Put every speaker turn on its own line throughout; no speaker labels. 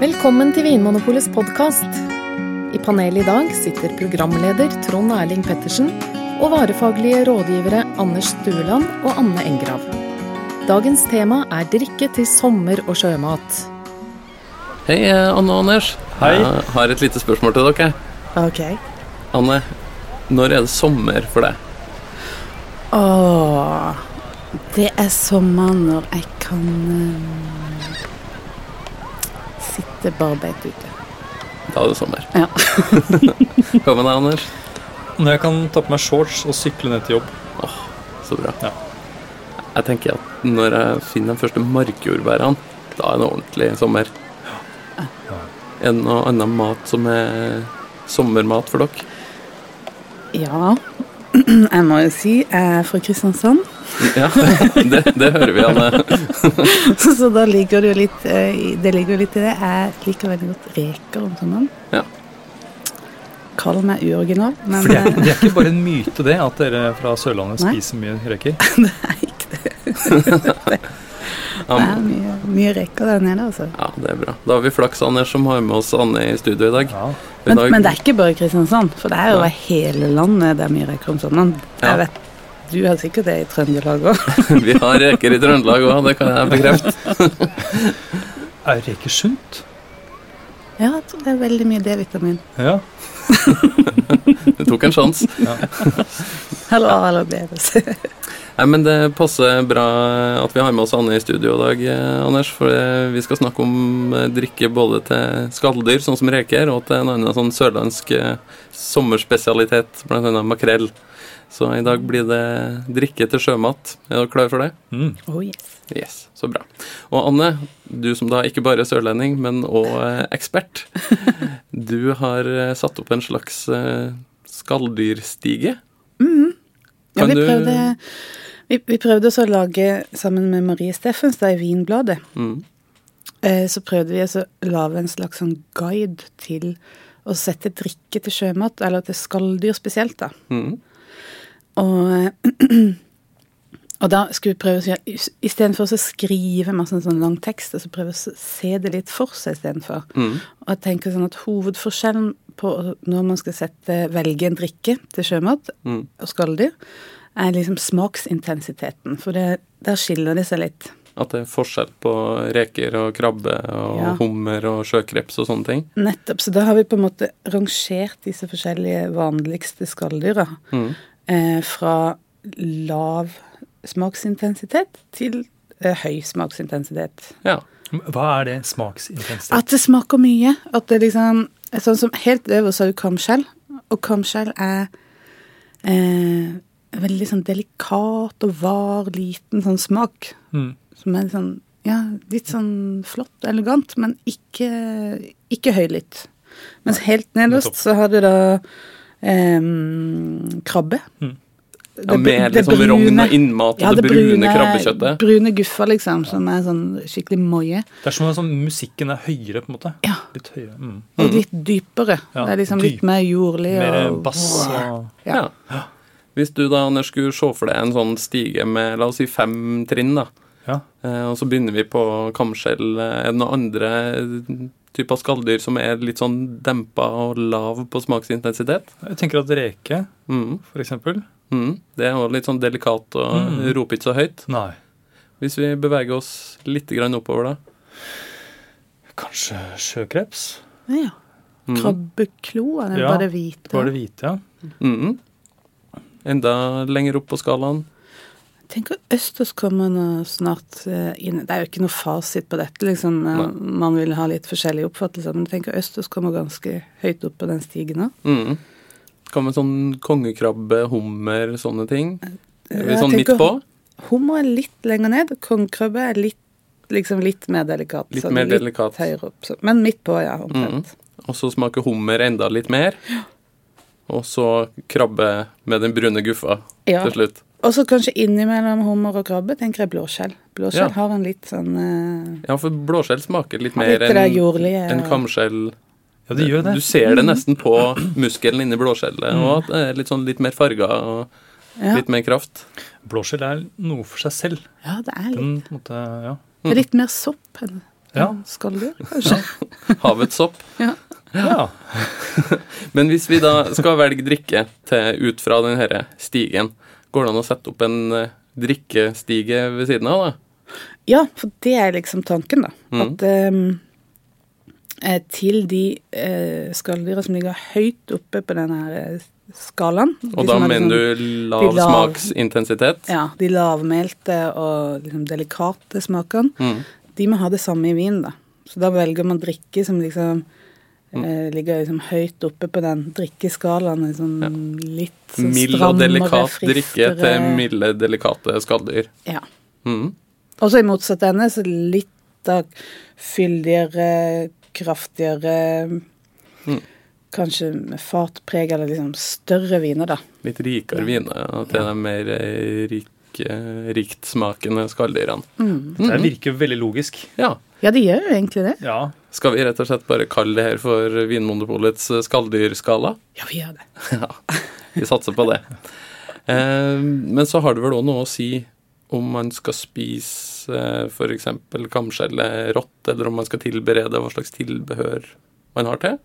Velkommen til Vinmonopolets podkast. I panelet i dag sitter programleder Trond Erling Pettersen og varefaglige rådgivere Anders Stueland og Anne Engrav. Dagens tema er drikke til sommer- og sjømat.
Hei, eh, Anne og Anders.
Hei.
Jeg har et lite spørsmål til dere.
Ok.
Anne, når er det sommer for deg?
Åh, det er sommer når jeg kan eh, sitte barbeint ute.
Da er det sommer.
Ja.
Hva med deg, Anders?
Når jeg kan ta på meg shorts og sykle ned til jobb.
Så bra.
Ja.
Jeg tenker at når jeg finner de første markjordbærene, da er det ordentlig sommer. Er det noe annen mat som er sommermat for dere?
Ja, jeg må jo si jeg er fra Kristiansand,
Ja, det, det hører vi, Anne.
så da ligger det jo litt, eh, i- det ligger jo litt i det. Jeg liker veldig godt reker om sommeren.
Ja.
Kall meg uoriginal, men
For det er,
eh,
det er ikke bare en myte, det, at dere fra Sørlandet
Nei.
spiser mye reker.
ikke det. det er
Ja,
mye, mye reker der nede, altså.
ja, det er bra. Da har vi flaks, Anders, som har med oss Anne i studio i dag.
Ja.
I
Men,
dag-
men det er ikke bare i Kristiansand, for det er jo
Nei.
over hele landet det er mye reker om sommeren.
Ja.
Jeg vet, du har sikkert det i Trøndelag òg.
Vi har reker i Trøndelag òg, det kan jeg bekrefte.
Er reker sunt?
Ja, jeg tror det er veldig mye D-vitamin.
Ja.
Du tok en sjanse.
Eller A eller B. hvis-
Nei, men Det passer bra at vi har med oss Anne i studio i dag, eh, Anders. For eh, vi skal snakke om eh, drikke både til skalldyr, sånn som reker, og til en annen sånn sørlandsk eh, sommerspesialitet, bl.a. makrell. Så i dag blir det drikke til sjømat. Er dere klare for det?
Mm.
Oh, yes.
Yes, så bra. Og Anne, du som da ikke bare er sørlending, men også eh, ekspert. Du har eh, satt opp en slags eh, skalldyrstige.
Mm-hmm. ja,
Kan
vi,
du-
prøvde, vi, vi prøvde oss å lage, sammen med Marie Steffenstad i Vinbladet,
Mm.
eh, så prøvde vi oss å lage en slags sånn guide til å sette drikke til sjømat, eller til skalldyr spesielt, da.
Mm.
Og, og da skulle vi prøve å gjøre Istedenfor å skrive masse sånn lang tekst, så prøve å se det litt for seg istedenfor.
Mm.
Og jeg tenker sånn at hovedforskjellen på når man skal sette, velge en drikke til sjømat
Mm.
og skalldyr, er liksom smaksintensiteten. For det, der skiller det seg litt.
At det er forskjell på reker og krabbe og
Ja.
hummer og sjøkreps og sånne ting.
Nettopp. Så da har vi på en måte rangert disse forskjellige vanligste skalldyra
Mm.
eh, fra lav smaksintensitet til eh, høy smaksintensitet.
Ja.
Hva er det? Smaksintensitet?
At det smaker mye. At det liksom Sånn som helt øverst har du kamskjell, og kamskjell er eh, veldig sånn delikat og var, liten sånn smak.
Mm.
Som er sånn Ja, litt sånn flott og elegant, men ikke, ikke høylytt. Mens helt nederst
nettopp.
så har du da em, krabbe.
Mm.
Det
ja
br-
mer
det
liksom rogn og
brune-
innmat og det, brune, krabbekjøttet.
Brune guffa, liksom, som er sånn skikkelig moie.
Det er som om sånn, musikken er høyere, på en måte.
Ja.
Litt høyere. Mm.
Og litt dypere.
Ja,
det er liksom litt
dyp-
mer jordlig.
Mer eh,
og,
bass og
Ja.
Ja. Hvis du da, Anders, skulle se for deg en sånn stige med la oss si fem trinn, da,
Ja.
eh, og så begynner vi på kamskjell, Eh, er det noen andre typer skalldyr som er litt sånn dempa og lav på smaksintensitet?
Jeg tenker at reke,
Mm.
for eksempel
Mm. Det er jo litt sånn delikat og
Mm.
roper ikke så høyt.
Nei.
Hvis vi beveger oss litt grann oppover, da.
Kanskje sjøkreps?
Ja.
Mm.
Krabbeklo, er det
Ja,
bare det hvite?
Det var det hvite, ja.
Mm-hmm.
Mhm. Enda lenger opp på skalaen.
Tenk at østers kommer nå snart eh, inn Det er jo ikke noe fasit på dette, liksom. eh,
Nei.
Man vil ha litt forskjellige oppfattelser, men tenk at østers kommer ganske høyt opp på den stigen nå.
Mhm. Hva med sånn kongekrabbe, hummer, sånne ting? Er vi
Jeg
sånn midt
tenker
på?
Hummer er litt lenger ned, og kongekrabbe er litt, liksom litt mer delikat.
Litt
sånn
mer delikat. Mhm.
høyere opp, så. Men midt på, ja, omtrent.
Og så smaker hummer enda litt mer. Og så krabbe med den brune guffa
Ja.
til slutt.
Og så kanskje innimellom hummer og krabbe tenker jeg blåskjell. Blåskjell
Ja.
har en litt sånn eh,
Ja, for blåskjell smaker litt
Har
mer
litt det der
enn
jordlige-
enn kamskjell.
Ja, det gjør det.
Mm.
Du ser det nesten på muskelen inni blåskjellet, og at det er litt sånn litt mer farga og
Ja,
Litt mer kraft.
Blåskjell er noe for seg selv.
ja det er litt,
Den på en måte, ja.
Mm.
det er litt mer sopp enn
Ja.
enn skalldyr, kanskje.
Havets sopp.
ja.
Men hvis vi da skal velge drikke til, ut fra denne stigen, går det an å sette opp en eh, drikkestige ved siden av, da?
Ja, for det er liksom tanken, da.
Mm.
At ehm, eh, til de eh, skalldyra som ligger høyt oppe på den her eh, skalaen
Og
de
da
som er
mener
liksom,
du lav
de lav-
smaksintensitet?
Ja. De lavmælte og liksom delikate smakene.
Mm.
De må ha det samme i vin, da. Så da velger man drikke som liksom
Mm.
eh, ligger liksom høyt oppe på den drikkeskalaen. Liksom litt sånn
Mild og
strammere,
delikat drikke
friskere.
til milde, delikate skalldyr.
Ja.
Mm.
Og så i motsatt ende så litt av fyldigere, kraftigere
Mm.
Kanskje med fartpreg eller liksom større viner, da.
Litt rikere viner ja, til de mer eh, rik, eh, riktsmakende skalldyrene.
Mm.
Det her virker jo veldig logisk.
Mm. Ja.
Ja, de gjør jo egentlig det.
Ja.
Skal vi rett og slett bare kalle det her for Vinmonopolets eh, skalldyrskala?
Ja, vi gjør det.
Ja, vi satser på det. Eh, men så har det vel òg noe å si om man skal spise eh, for eksempel kamskjellet rått, eller om man skal tilberede hva slags tilbehør man har til.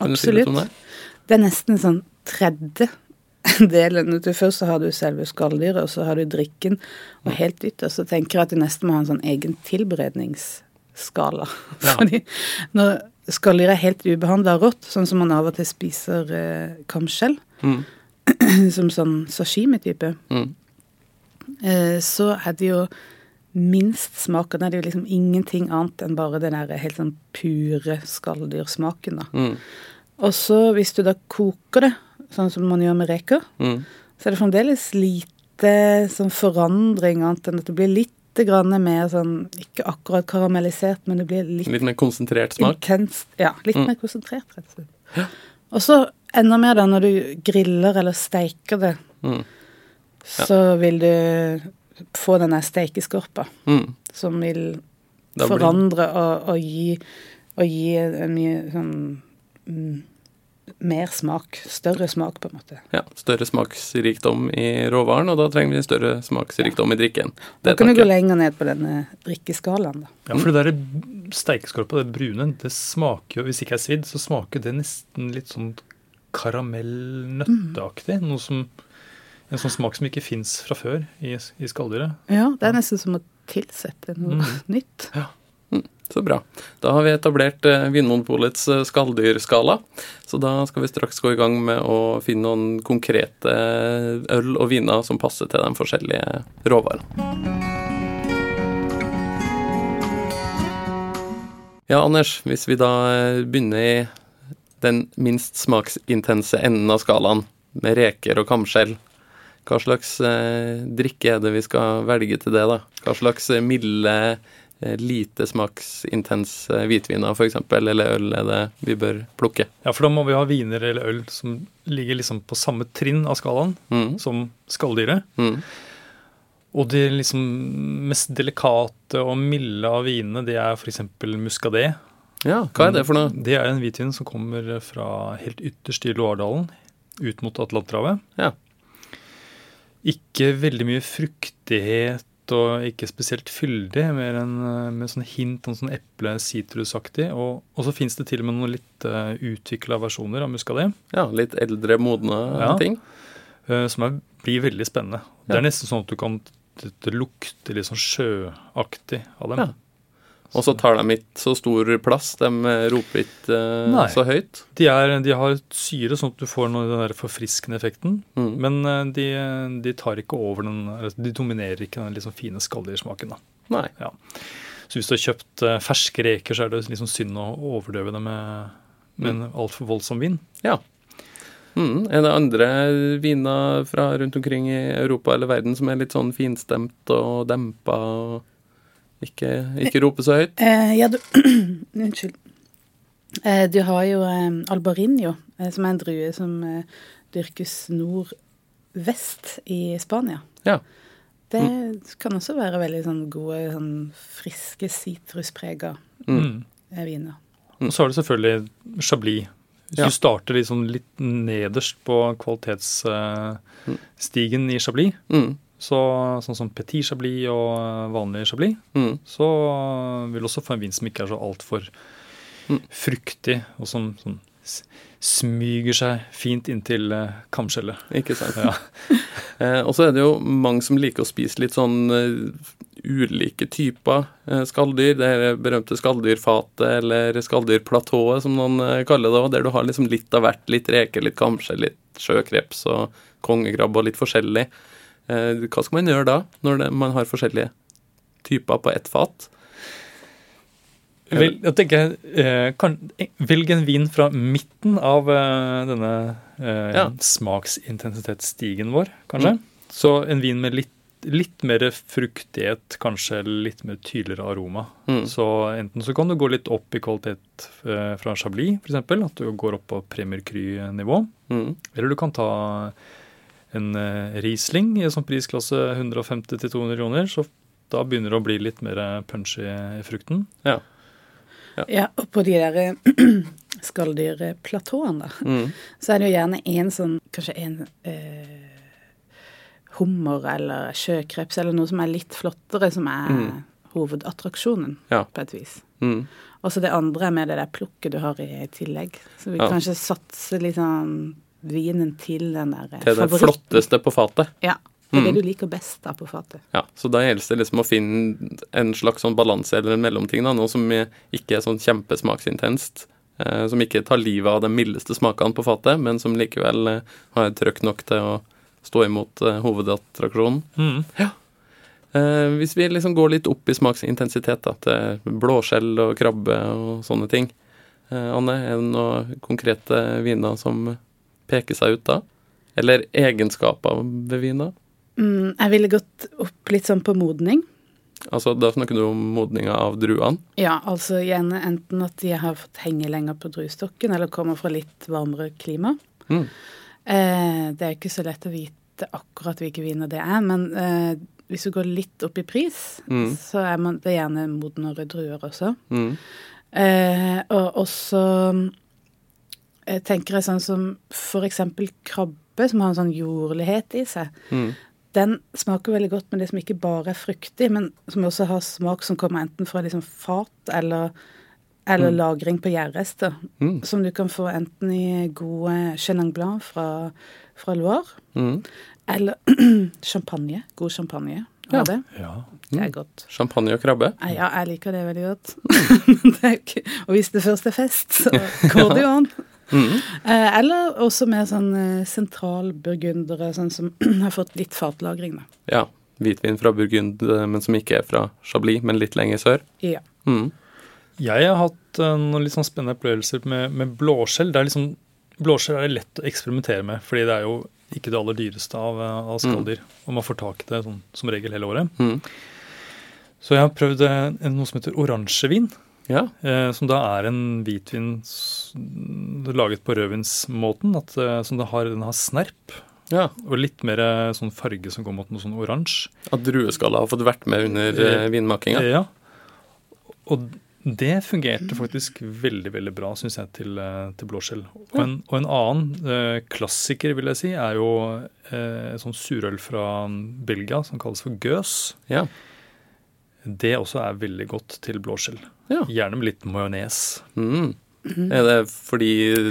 Kan du si litt om
Absolutt.
det?
Det er nesten sånn tredje delen. At du Først så har du selve skalldyret, og så har du drikken.
Mm.
Og helt ytterst så tenker jeg at du nesten må ha en sånn egen tilberedningsskala.
Ja.
Fordi når skalldyret er helt ubehandla rått, sånn som man av og til spiser eh, kamskjell,
Mm.
som sånn sashimi-type,
Mm.
eh, så er det jo minst smaken. Da er det jo liksom ingenting annet enn bare den der helt sånn pure skalldyrsmaken, da.
Mm.
Og så hvis du da koker det, sånn som man gjør med reker,
Mm.
så er det fremdeles lite sånn forandring annet enn at det blir litt grann mer sånn Ikke akkurat karamellisert, men det blir litt
Litt mer konsentrert smak.
intenst. Ja, litt
Mm.
mer konsentrert, rett og slett. Og så enda mer da når du griller eller steiker det,
Mm.
så vil du få denne steikeskorpa
Mm.
som vil
Da blir-
forandre og, og gi, og gi en mye sånn mm, mer smak, større smak, på en måte.
Ja, større smaksrikdom i råvaren, og da trenger vi større smaksrikdom i drikken.
Da
Det
kan du gå
takker jeg.
lenger ned på denne drikkeskalaen, da.
ja, for det der steikeskorpa, det brune, det smaker jo, hvis ikke er svidd, så smaker det nesten litt sånn karamellnøtteaktig. Noe som En sånn smak som ikke fins fra før i, i skalldyret.
Ja, det er nesten som å tilsette noe
Mm.
nytt.
Så bra. Da har vi etablert eh, Vinmonopolets eh, skalldyrskala. Så da skal vi straks gå i gang med å finne noen konkrete eh, øl og viner som passer til de forskjellige råvarene. Ja, Anders, hvis vi da eh, begynner i den minst smaksintense enden av skalaen, med reker og kamskjell, hva slags eh, drikke er det vi skal velge til det, da? Hva slags eh, milde eh, lite smaksintens eh, hvitviner, f.eks., eller øl er det vi bør plukke.
Ja, for da må vi ha viner eller øl som ligger liksom på samme trinn av skalaen
Mm.
som skalldyret.
Mm.
Og de liksom mest delikate og milde av vinene, det er f.eks. muscadet.
Ja, hva er det for noe?
Det er en hvitvin som kommer fra helt ytterst i Loardalen, ut mot Atlanterhavet.
Ja.
Ikke veldig mye fruktighet og ikke spesielt fyldig, mer enn eh, med sånne hint om sånn eple-sitrusaktig. Og, og så fins det til og med noen litt uh, utvikla versjoner av muscadet.
Ja, Litt eldre, modne
Ja.
ting?
eh, som er, blir veldig spennende. Det
Ja.
er nesten sånn at du kan det, det lukter litt sånn sjøaktig av dem.
Ja. Og så tar de ikke så stor plass, de eh, roper ikke eh,
Nei.
så høyt.
De, er, de har syre, sånn at du får noe, den der forfriskende effekten.
Mm.
Men eh, de, de tar ikke over den eller De dominerer ikke den liksom fine skalldyrsmaken. da.
Nei.
Så hvis du har kjøpt eh, ferske reker, så er det liksom synd å overdøve det med, med en altfor voldsom vin.
Ja. Mm. Er det andre viner fra rundt omkring i Europa eller verden som er litt sånn finstemt og dempa og ikke, ikke roper så høyt?
Eh, ja, du Unnskyld. Eh, du har jo eh, albarinio, eh, som er en drue som eh, dyrkes nordvest i Spania.
Ja. Mm.
Det kan også være veldig sånn gode, sånn friske sitrusprega
Mm.
Mm.
eh, viner.
Mm.
Og så har du selvfølgelig chablis Hvis
Ja.
du starter liksom litt nederst på kvalitetsstigen i Chablis,
Mm,
så, sånn som Petit Chablis og eh, vanlig Chablis,
mm,
så vil du også få en vin som ikke er så altfor
Mm.
fruktig, og som, som s- smyger seg fint inntil eh, kamskjellet.
ikke sant.
Ja.
Eh, og så er det jo mange som liker å spise litt sånn eh, ulike typer eh, skalldyr. Det her berømte skalldyrfatet, eller skalldyrplatået, som noen eh, kaller det òg. Der du har liksom litt av hvert. Litt reker, litt kamskjell, litt sjøkreps og kongekrabbe og litt forskjellig. Eh, hva skal man gjøre da, når det, man har forskjellige typer på ett fat?
Vel, jeg tenker, eh, kan, eh, velg en vin fra midten av eh, denne eh,
Ja. Mm.
smaksintensitetsstigen vår, kanskje. Så en vin med litt, litt mer fruktighet, kanskje litt mer tydeligere aroma.
Mm.
Så enten så kan du gå litt opp i kvalitet eh, fra Chablis, f.eks., at du går opp på Premier Cry-nivå.
Mm,
Eller du kan ta en eh, Riesling i en sånn prisklasse 150-200 kroner. så da begynner det å bli litt mer punchy i frukten.
ja.
Ja, og på de der eh, skalldyrplatåene, da,
Mm,
så er det jo gjerne en sånn Kanskje en eh, hummer eller sjøkreps eller noe som er litt flottere, som er
Mm.
hovedattraksjonen,
Ja.
på et vis.
mm.
Og så det andre med det der plukket du har i tillegg. Så vi
Ja.
kanskje satser litt sånn vinen til den der eh,
Til det
favoritten.
flotteste på fatet.
Ja. Det er
Mm.
det du liker best da på fatet.
Ja, så da gjelder det liksom å finne en slags sånn balanse eller en mellomting, da, noe som eh, ikke er sånn kjempesmaksintenst, eh, som ikke tar livet av de mildeste smakene på fatet, men som likevel eh, har trøkk nok til å stå imot eh, hovedattraksjonen.
Mm.
Eh, hvis vi liksom går litt opp i smaksintensitet, da, til blåskjell og krabbe og sånne ting. Eh, Anne, er det noen konkrete viner som peker seg ut da? Eller egenskaper ved viner?
Mm, jeg ville gått opp litt sånn på modning.
Altså, da snakker du om modninga av druene.
Ja, altså gjerne enten at de har fått henge lenger på druestokken, eller kommer fra litt varmere klima.
Mm.
Eh, det er ikke så lett å vite akkurat hvilke viner det er, men eh, hvis du går litt opp i pris,
Mm.
så er man, det er gjerne modnere druer også.
Mm.
Eh, og også eh, tenker jeg sånn som for eksempel krabbe, som har en sånn jordlighet i seg.
Mm.
Den smaker veldig godt med det som ikke bare er fruktig, men som også har smak som kommer enten fra liksom fat eller, eller lagring på gjærrester.
Mm.
Som du kan få enten i gode Chenin Blanc fra, fra Loire,
Mm.
eller champagne. God champagne.
Ja. Mm.
Ja. Det.
Ja.
det er godt.
Champagne og krabbe?
Nei, Ja, jeg liker det veldig godt. Men det er jo ikke, og hvis det først er fest, så går det jo an.
Mm.
Eh, eller også med sånn eh, sentralburgundere, sånn som har fått litt fatlagring, da.
Ja. Hvitvin fra Burgund, eh, men som ikke er fra Chablis, men litt lenger sør.
Ja.
Mm.
Jeg har hatt eh, noen litt sånn spennende opplevelser med, med blåskjell. Det er liksom, blåskjell er det lett å eksperimentere med, fordi det er jo ikke det aller dyreste av, eh, av skalldyr. Og man får tak i det sånn, som regel hele året.
Mm.
Så jeg har prøvd eh, en- noe som heter oransjevin,
Ja.
eh, som da er en hvitvin s- laget på rødvinsmåten, at, eh, som det har, den har snerp.
ja.
Og litt mer eh, sånn farge som går mot noe sånn oransje.
At drueskallet har fått vært med under eh,
Eh,
vinmakinga.
Ja. Og det fungerte faktisk veldig veldig bra, syns jeg, til, eh, til blåskjell. Og en, og en annen eh, klassiker, vil jeg si, er jo eh, sånn surøl fra mm, Belgia som kalles for gøs.
Ja.
Det også er veldig godt til blåskjell.
Ja.
Gjerne med litt majones.
Mm. Er det fordi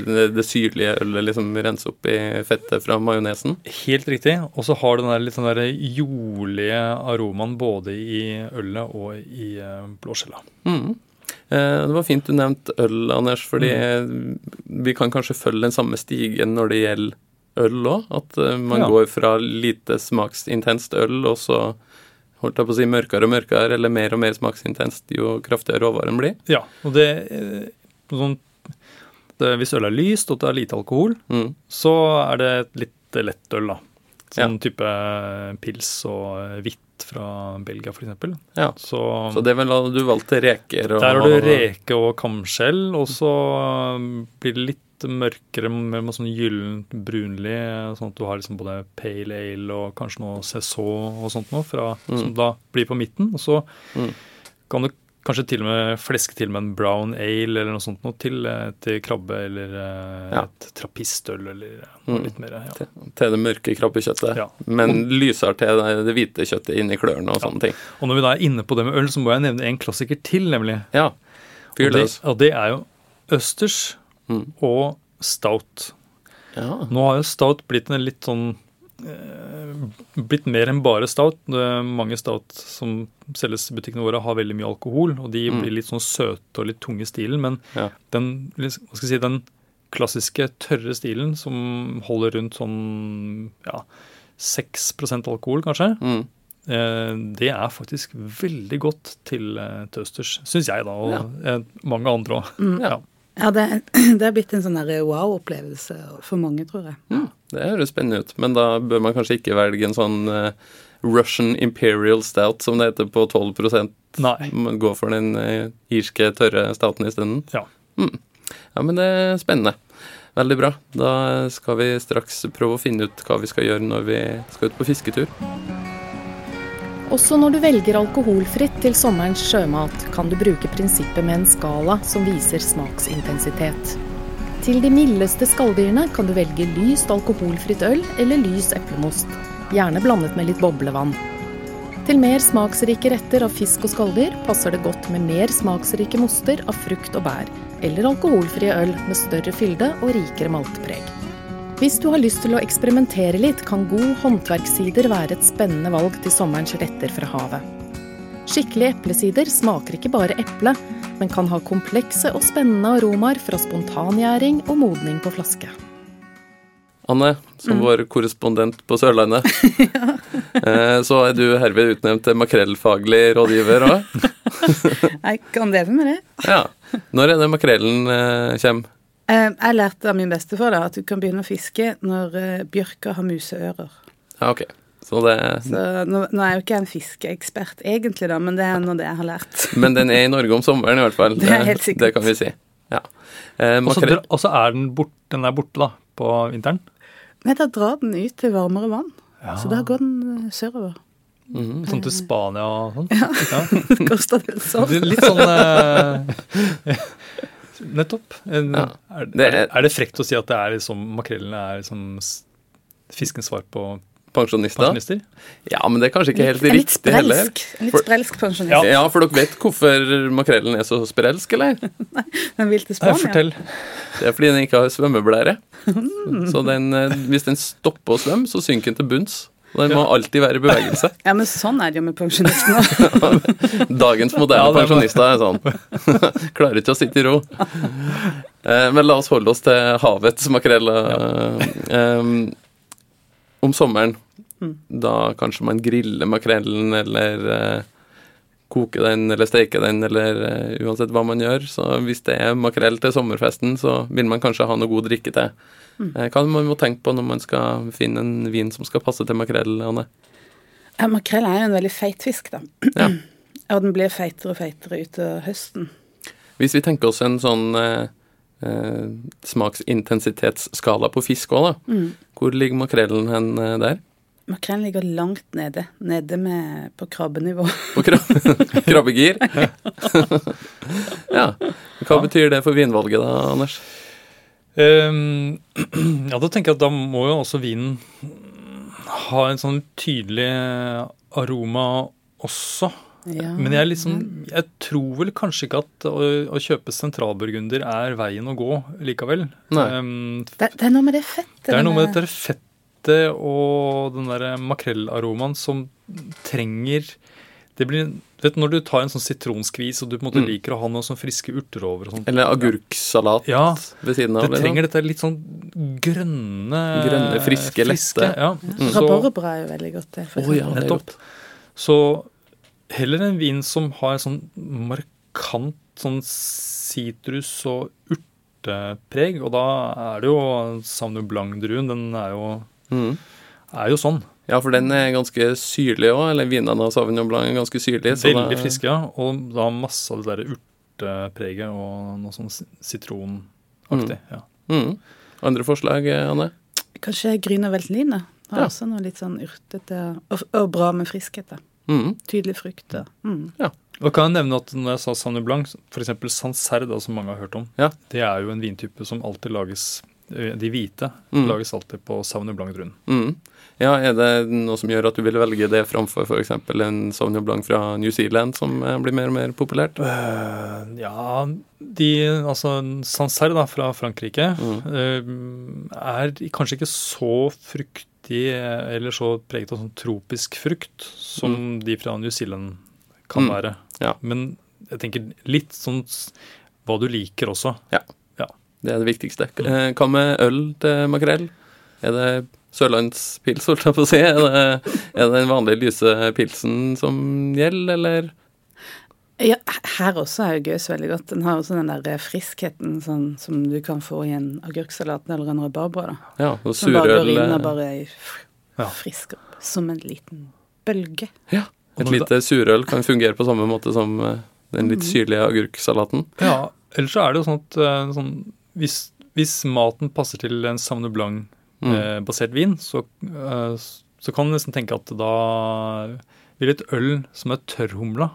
det det syrlige ølet liksom renser opp i fettet fra majonesen?
Helt riktig. Og så har den der litt sånn der jordlige aromaen både i ølet og i eh, blåskjella.
Mm. Eh, Det var fint du nevnte øl, Anders, fordi
Mm.
eh, vi kan kanskje følge den samme stigen når det gjelder øl òg. At eh, man
Ja.
går fra lite smaksintenst øl, og så holdt jeg på å si mørkere og mørkere, eller mer og mer smaksintenst jo kraftigere råvaren blir.
Ja, og det, eh, sånn, det Hvis ølet er lyst og det er lite alkohol,
Mm.
så er det et litt lett øl, da. Sånn
Ja.
type eh, pils og eh, hvitt fra Belgia, f.eks.
Ja.
Så,
Så det er vel da du valgte reker og
der har du reke og kamskjell, og så um, blir det litt mørkere med med sånn gyllent brunlig, sånn at du har liksom både pale ale og kanskje noe saison og sånt noe, fra, som da blir på midten. Og så
Mm.
kan du Kanskje til og med fleske til med en brown ale eller noe sånt noe til, eh, til krabbe eller eh,
Ja.
et trappistøl eller eh, noe
Mm.
litt mer. Ja.
Til, til det mørke krabbekjøttet,
Ja.
men lysere til det, det hvite kjøttet inni klørne og sånne ting.
Og når vi da er inne på det med øl, så må jeg nevne en klassiker til, nemlig.
Ja. Fyr
Og det,
løs.
og det er jo østers
Mm.
og stout.
Ja.
Nå har jo stout blitt en litt sånn eh, blitt mer enn bare stout. Det er mange stout som selges i butikkene våre, har veldig mye alkohol, og de
Mm.
blir litt sånn søte og litt tunge i stilen. Men
Ja.
den, litt- hva skal jeg si, den klassiske tørre stilen som holder rundt sånn ja, 6 alkohol, kanskje,
Mm.
eh, det er faktisk veldig godt til eh, til østers, syns jeg, da, og eh, mange andre òg.
ja.
Ja, det, det har blitt en sånn der wow-opplevelse for mange, tror jeg.
Mm. Det høres spennende ut, men da bør man kanskje ikke velge en sånn eh, Russian Imperial Stout, som det heter, på 12
Nei.
Man Gå for den eh, irske, tørre stouten isteden.
Ja.
Mm. ja, men det er spennende. Veldig bra. Da skal vi straks prøve å finne ut hva vi skal gjøre når vi skal ut på fisketur.
Også når du velger alkoholfritt til sommerens sjømat, kan du bruke prinsippet med en skala som viser smaksintensitet. Til de mildeste skalldyrene kan du velge lyst alkoholfritt øl eller lys eplemost, gjerne blandet med litt boblevann. Til mer smaksrike retter av fisk og skalldyr passer det godt med mer smaksrike moster av frukt og bær, eller alkoholfrie øl med større fylde og rikere maltpreg. Hvis du har lyst til å eksperimentere litt, kan god håndverkssider være et spennende valg til sommerens retter fra havet. Skikkelig eplesider smaker ikke bare eple, men kan ha komplekse og spennende aromaer fra spontangjæring og modning på flaske.
Anne, som vår korrespondent på Sørlandet, eh, så er du herved utnevnt til makrellfaglig rådgiver òg.
Jeg kan leve med det.
Ja. Når er det makrellen eh, kommer?
Eh, Jeg lærte av min bestefar da, at du kan begynne å fiske når eh, bjørka har museører.
Ja, ok. Så det,
Så nå, nå er jo ikke jeg en fiskeekspert egentlig, da, men det er nå det jeg har lært.
men den er i Norge om sommeren, i hvert fall.
Det er helt sikkert.
Det kan vi si. Ja. Eh,
Og så
makrell-
dra- og så er den, bort, den er borte da, på vinteren.
Nei, da drar den ut til varmere vann,
Ja.
så da går den eh, sørover.
Mhm.
Sånn til Spania og sånn. Ja.
Costa del Sol.
Det er Litt sånn eh, Nettopp. En-
Ja.
Er,
Det
er,
er-
er det frekt å si at det er liksom, makrellen er liksom s- fiskens svar på
Pensjonister?
pensjonister?
Ja, men det er kanskje ikke helt
En litt
riktig heller.
sprelsk, en litt
For-
sprelsk pensjonist.
Ja. for dere vet hvorfor makrellen er så sprelsk, eller?
Den vil
Nei,
til Spania.
fortell.
Det er fordi den ikke har svømmeblære. Så den, eh, hvis den stopper å svømme, så synker den til bunns. Og den må alltid være i bevegelse.
Ja, men sånn er det jo med pensjonistene.
Dagens moderne
Ja, det er
pensjonister er sånn. Klarer ikke å sitte i ro. Eh, Men la oss holde oss til havets makrell. eh, eh, Om sommeren,
Mm.
da kanskje man griller makrellen, eller eh, koker den, eller steker den, eller eh, uansett hva man gjør. Så hvis det er makrell til sommerfesten, så vil man kanskje ha noe god drikke til.
Mm.
Eh, Hva man må tenke på når man skal finne en vin som skal passe til makrell, Anne?
Ja, Makrell er jo en veldig feit fisk, da.
Ja.
Og den blir feitere og feitere utover høsten.
Hvis vi tenker oss en sånn eh, eh, smaksintensitetsskala på fisk òg, da. Hvor ligger makrellen hen eh, der?
Makrellen ligger langt nede. Nede med, på krabbenivå.
På krab krabbegir? ja. Hva betyr det for vinvalget da, Anders?
Ehm, ja, da tenker jeg at da må jo også vinen ha en sånn tydelig aroma også.
Ja.
Men jeg, er liksom, jeg tror vel kanskje ikke at å, å kjøpe sentralburgunder er veien å gå likevel.
Nei.
Ehm,
Det, det er noe med det fettet. eh,
det er noe med
denne-
dette fettet og den der makrellaromaen som trenger det blir, vet, du, Når du tar en sånn sitronskvis og du på en måte liker å ha noe sånn friske urter over og sånt,
Mm. Eller agurksalat
Ja,
ved siden av?
det
liksom.
trenger dette litt sånn grønne
Grønne, friske, lette. Mm.
Ja. Så,
Rabarbra er jo veldig godt, det. for
Å ja,
eksempel.
det er
Nettopp.
godt.
så heller en vin som har sånn markant sånn sitrus- og urtepreg. Og da er det jo Sauvignon Blanc-druen. Den er jo,
Mm.
er jo sånn.
Ja, for den er ganske syrlig òg, eller vinene av Sauvignon Blanc er ganske syrlige. så da-
Veldig friske, ja. Og da masse av det derre urtepreget og noe sånn si- sitronaktig. Ja.
Mm. Andre forslag, eh, Anne?
Kanskje Grünerveltliner har
Ja.
også noe litt sånn urtete og, og bra med friskhet. da.
Mm.
Tydelig frukt. da. Mm.
Da kan jeg nevne at når jeg sa Sauvignon Blanc, f.eks. Sancerre, da, som mange har hørt om,
Ja.
det er jo en vintype som alltid lages eh, De hvite
Mm.
lages alltid på Sauvignon Blanc-druen.
Mm. Ja, Er det noe som gjør at du vil velge det framfor f.eks. en Sauvignon Blanc fra New Zealand, som eh, blir mer og mer populært?
Eh, ja de, Altså Sancerre da, fra Frankrike
Mm.
eh, er kanskje ikke så fruktig eh, eller så preget av sånn tropisk frukt som de fra New Zealand kan
Mm.
være.
Ja.
Men jeg tenker litt sånn s- hva du liker også.
Det er det viktigste. Eh, Hva med øl til makrell? Er det sørlandspils, holdt jeg på å si? Er det, er det den vanlige lyse pilsen som gjelder, eller?
Ja, her også er jo gøs veldig godt. Den har også den der eh, friskheten sånn, som du kan få i en agurksalat eller en rødbarbra. da.
Ja, og
Som bare går
surøl.
inn og
eh,
bare
Ja.
frisker opp som en liten bølge.
Ja, eh,
Og
et
når
lite surøl kan fungere på samme måte som eh, den litt
Mhm.
syrlige agurksalaten.
Ja, ellers så er det jo sånn at eh, sånn, hvis, hvis maten passer til en Sauvignon
Mm.
Blanc-basert vin, så, eh, s- så kan du nesten tenke at da vil et øl som er tørrhumla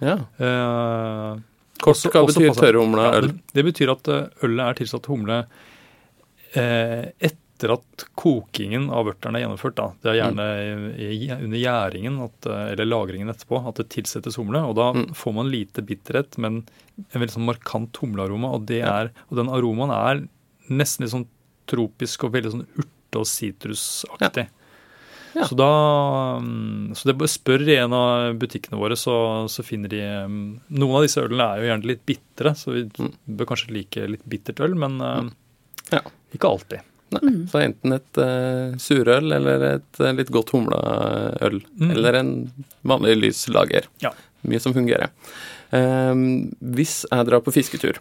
Ja.
eh,
Kort,
også-
hva
også
betyr
passe-
tørrhumla
Ja,
øl?
det- Det betyr at eh, ølet er tilsatt humle eh, etter at kokingen av ørteren er gjennomført. Da. Det er
Mm.
gjerne i, i, under gjæringen at, eh, eller lagringen etterpå at det tilsettes humle. og Da
Mm.
får man lite bitterhet, men en veldig sånn markant humlearoma. Og, det er, og den aromaen er nesten litt sånn tropisk og veldig sånn urte- og sitrusaktig.
Ja.
Så da mm, så det bare spør i en av butikkene våre, så, så finner de mm, Noen av disse ølene er jo gjerne litt bitre, så vi bør kanskje like litt bittert øl, men eh,
Mm. Ja.
ikke alltid.
Nei. Så enten et eh, surøl eller et eh, litt godt humla eh, øl.
Mm.
Eller en vanlig lys lager.
Ja.
Mye som fungerer. Ehm, hvis jeg drar på fisketur,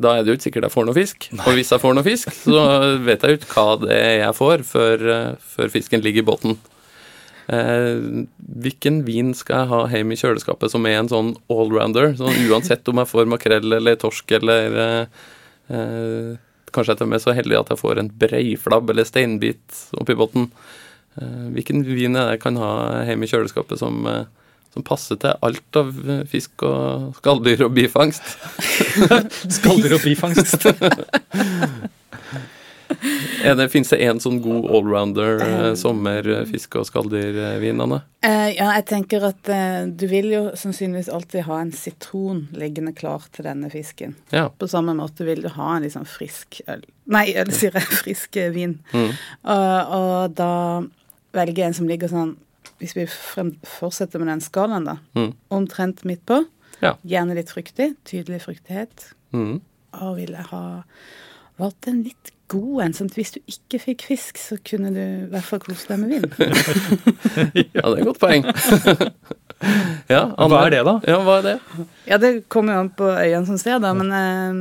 da er det jo ikke sikkert jeg får noe fisk. Og hvis jeg får noe fisk, så vet jeg jo ikke hva det er jeg får, før, eh, før fisken ligger i båten. Eh, hvilken vin skal jeg ha hjemme i kjøleskapet som er en sånn allrounder? Sånn uansett om jeg får makrell eller torsk eller eh, eh, Kanskje jeg til og med er så heldig at jeg får en breiflabb eller steinbit oppi bunnen. Eh, hvilken vin er det jeg kan ha hjemme i kjøleskapet som, eh, som passer til alt av eh, fisk og skalldyr og bifangst?
Skalldyr og bifangst.
Er det, finnes det en sånn god allrounder eh, sommerfiske- og skalldyrvin, Anne?
Eh, ja, jeg tenker at eh, du vil jo sannsynligvis alltid ha en sitron liggende klar til denne fisken.
Ja.
På samme måte vil du ha en liksom frisk øl Nei, øl, sier jeg. Frisk eh, vin.
Mm.
Og, og da velger jeg en som ligger sånn Hvis vi frem, fortsetter med den skalaen, da.
Mm.
Omtrent midt på.
Ja.
Gjerne litt fruktig. Tydelig fruktighet.
Mm.
Og ville ha valgt en litt god en, sånn at hvis du ikke fikk fisk, så kunne du i hvert fall kose deg med vin.
ja, det er et godt poeng. ja,
Hva er det, da?
Ja, hva er det?
Ja, det kommer jo an på øynene som ser, da, men eh,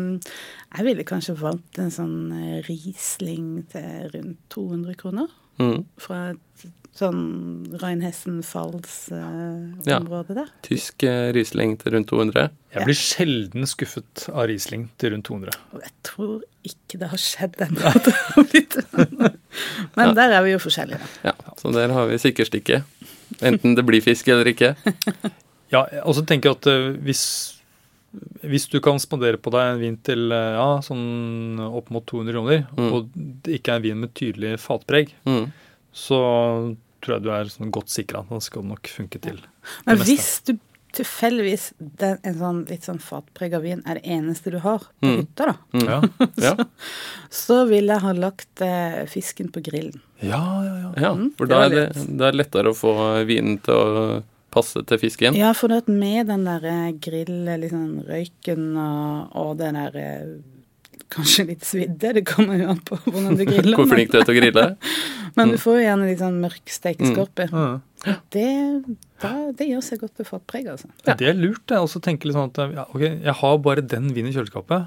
jeg ville kanskje valgt en sånn eh, Riesling til rundt 200 kroner.
Mm.
Fra et sånn
Ja.
Reinhessen-Falls-område der.
Tysk eh, Riesling til rundt 200.
Jeg blir sjelden skuffet av Riesling til rundt 200.
Og jeg tror ikke det har skjedd ennå. at det har blitt sånn. Men der er vi jo forskjellige, da.
Ja, Så der har vi sikkerstikket. Enten det blir fisk eller ikke.
Ja, og så tenker jeg at eh, hvis, hvis du kan spandere på deg en vin til eh, ja, sånn opp mot 200 kroner,
Mm.
og det ikke er en vin med tydelig fatpreg,
Mm.
så tror jeg du er sånn godt sikra. Da skal det nok funke til.
Men
Det meste.
hvis du tilfeldigvis den, en sånn litt sånn fatprega vin er det eneste du har på
Mm.
hytta, da,
Mm.
Ja,
Ja.
så ville jeg ha lagt eh, fisken på grillen.
ja, ja. ja.
ja,
Mm,
for
det
da
var
er det, da er det lettere å få vinen til å passe til fisken.
Ja, for det at med den der eh, grill, eh, liksom røyken og, og den der eh, kanskje litt svidde, det kommer jo an på hvordan du griller.
Hvor flink du er til å grille.
men, men du får jo gjerne litt sånn mørk stekeskorpe.
Mm.
Det, da, det gjør seg godt til fatpreg, altså.
Det er lurt. Jeg også tenker litt sånn at ja, ok, jeg har bare den vinen i kjøleskapet.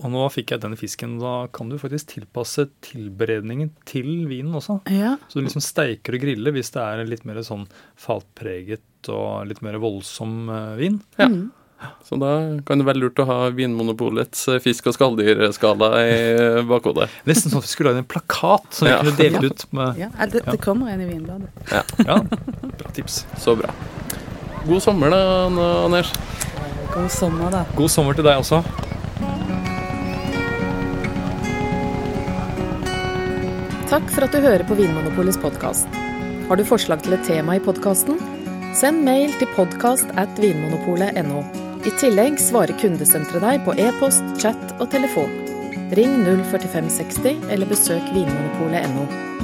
Og nå fikk jeg den fisken. Da kan du faktisk tilpasse tilberedningen til vinen også.
Ja.
Så du liksom steiker og griller hvis det er en litt mer sånn fatpreget og litt mer voldsom eh, vin.
Ja. Så da kan det være lurt å ha Vinmonopolets eh, fisk- og skalldyrskala i eh, bakhodet.
Nesten sånn at vi skulle lage en plakat som vi
Ja.
kunne delt ut med
ja. eh, Det, det kommer en i Vinbladet.
Ja, bra tips.
Så bra. God sommer, da, Anna- Anders.
God sommer, da.
God sommer til deg også.
Takk for at du hører på Vinmonopolets podkast. Har du forslag til et tema i podkasten? Send mail til podkast at vinmonopolet.no. I tillegg svarer kundesenteret deg på e-post, chat og telefon. Ring 04560 eller besøk vinmonopolet.no.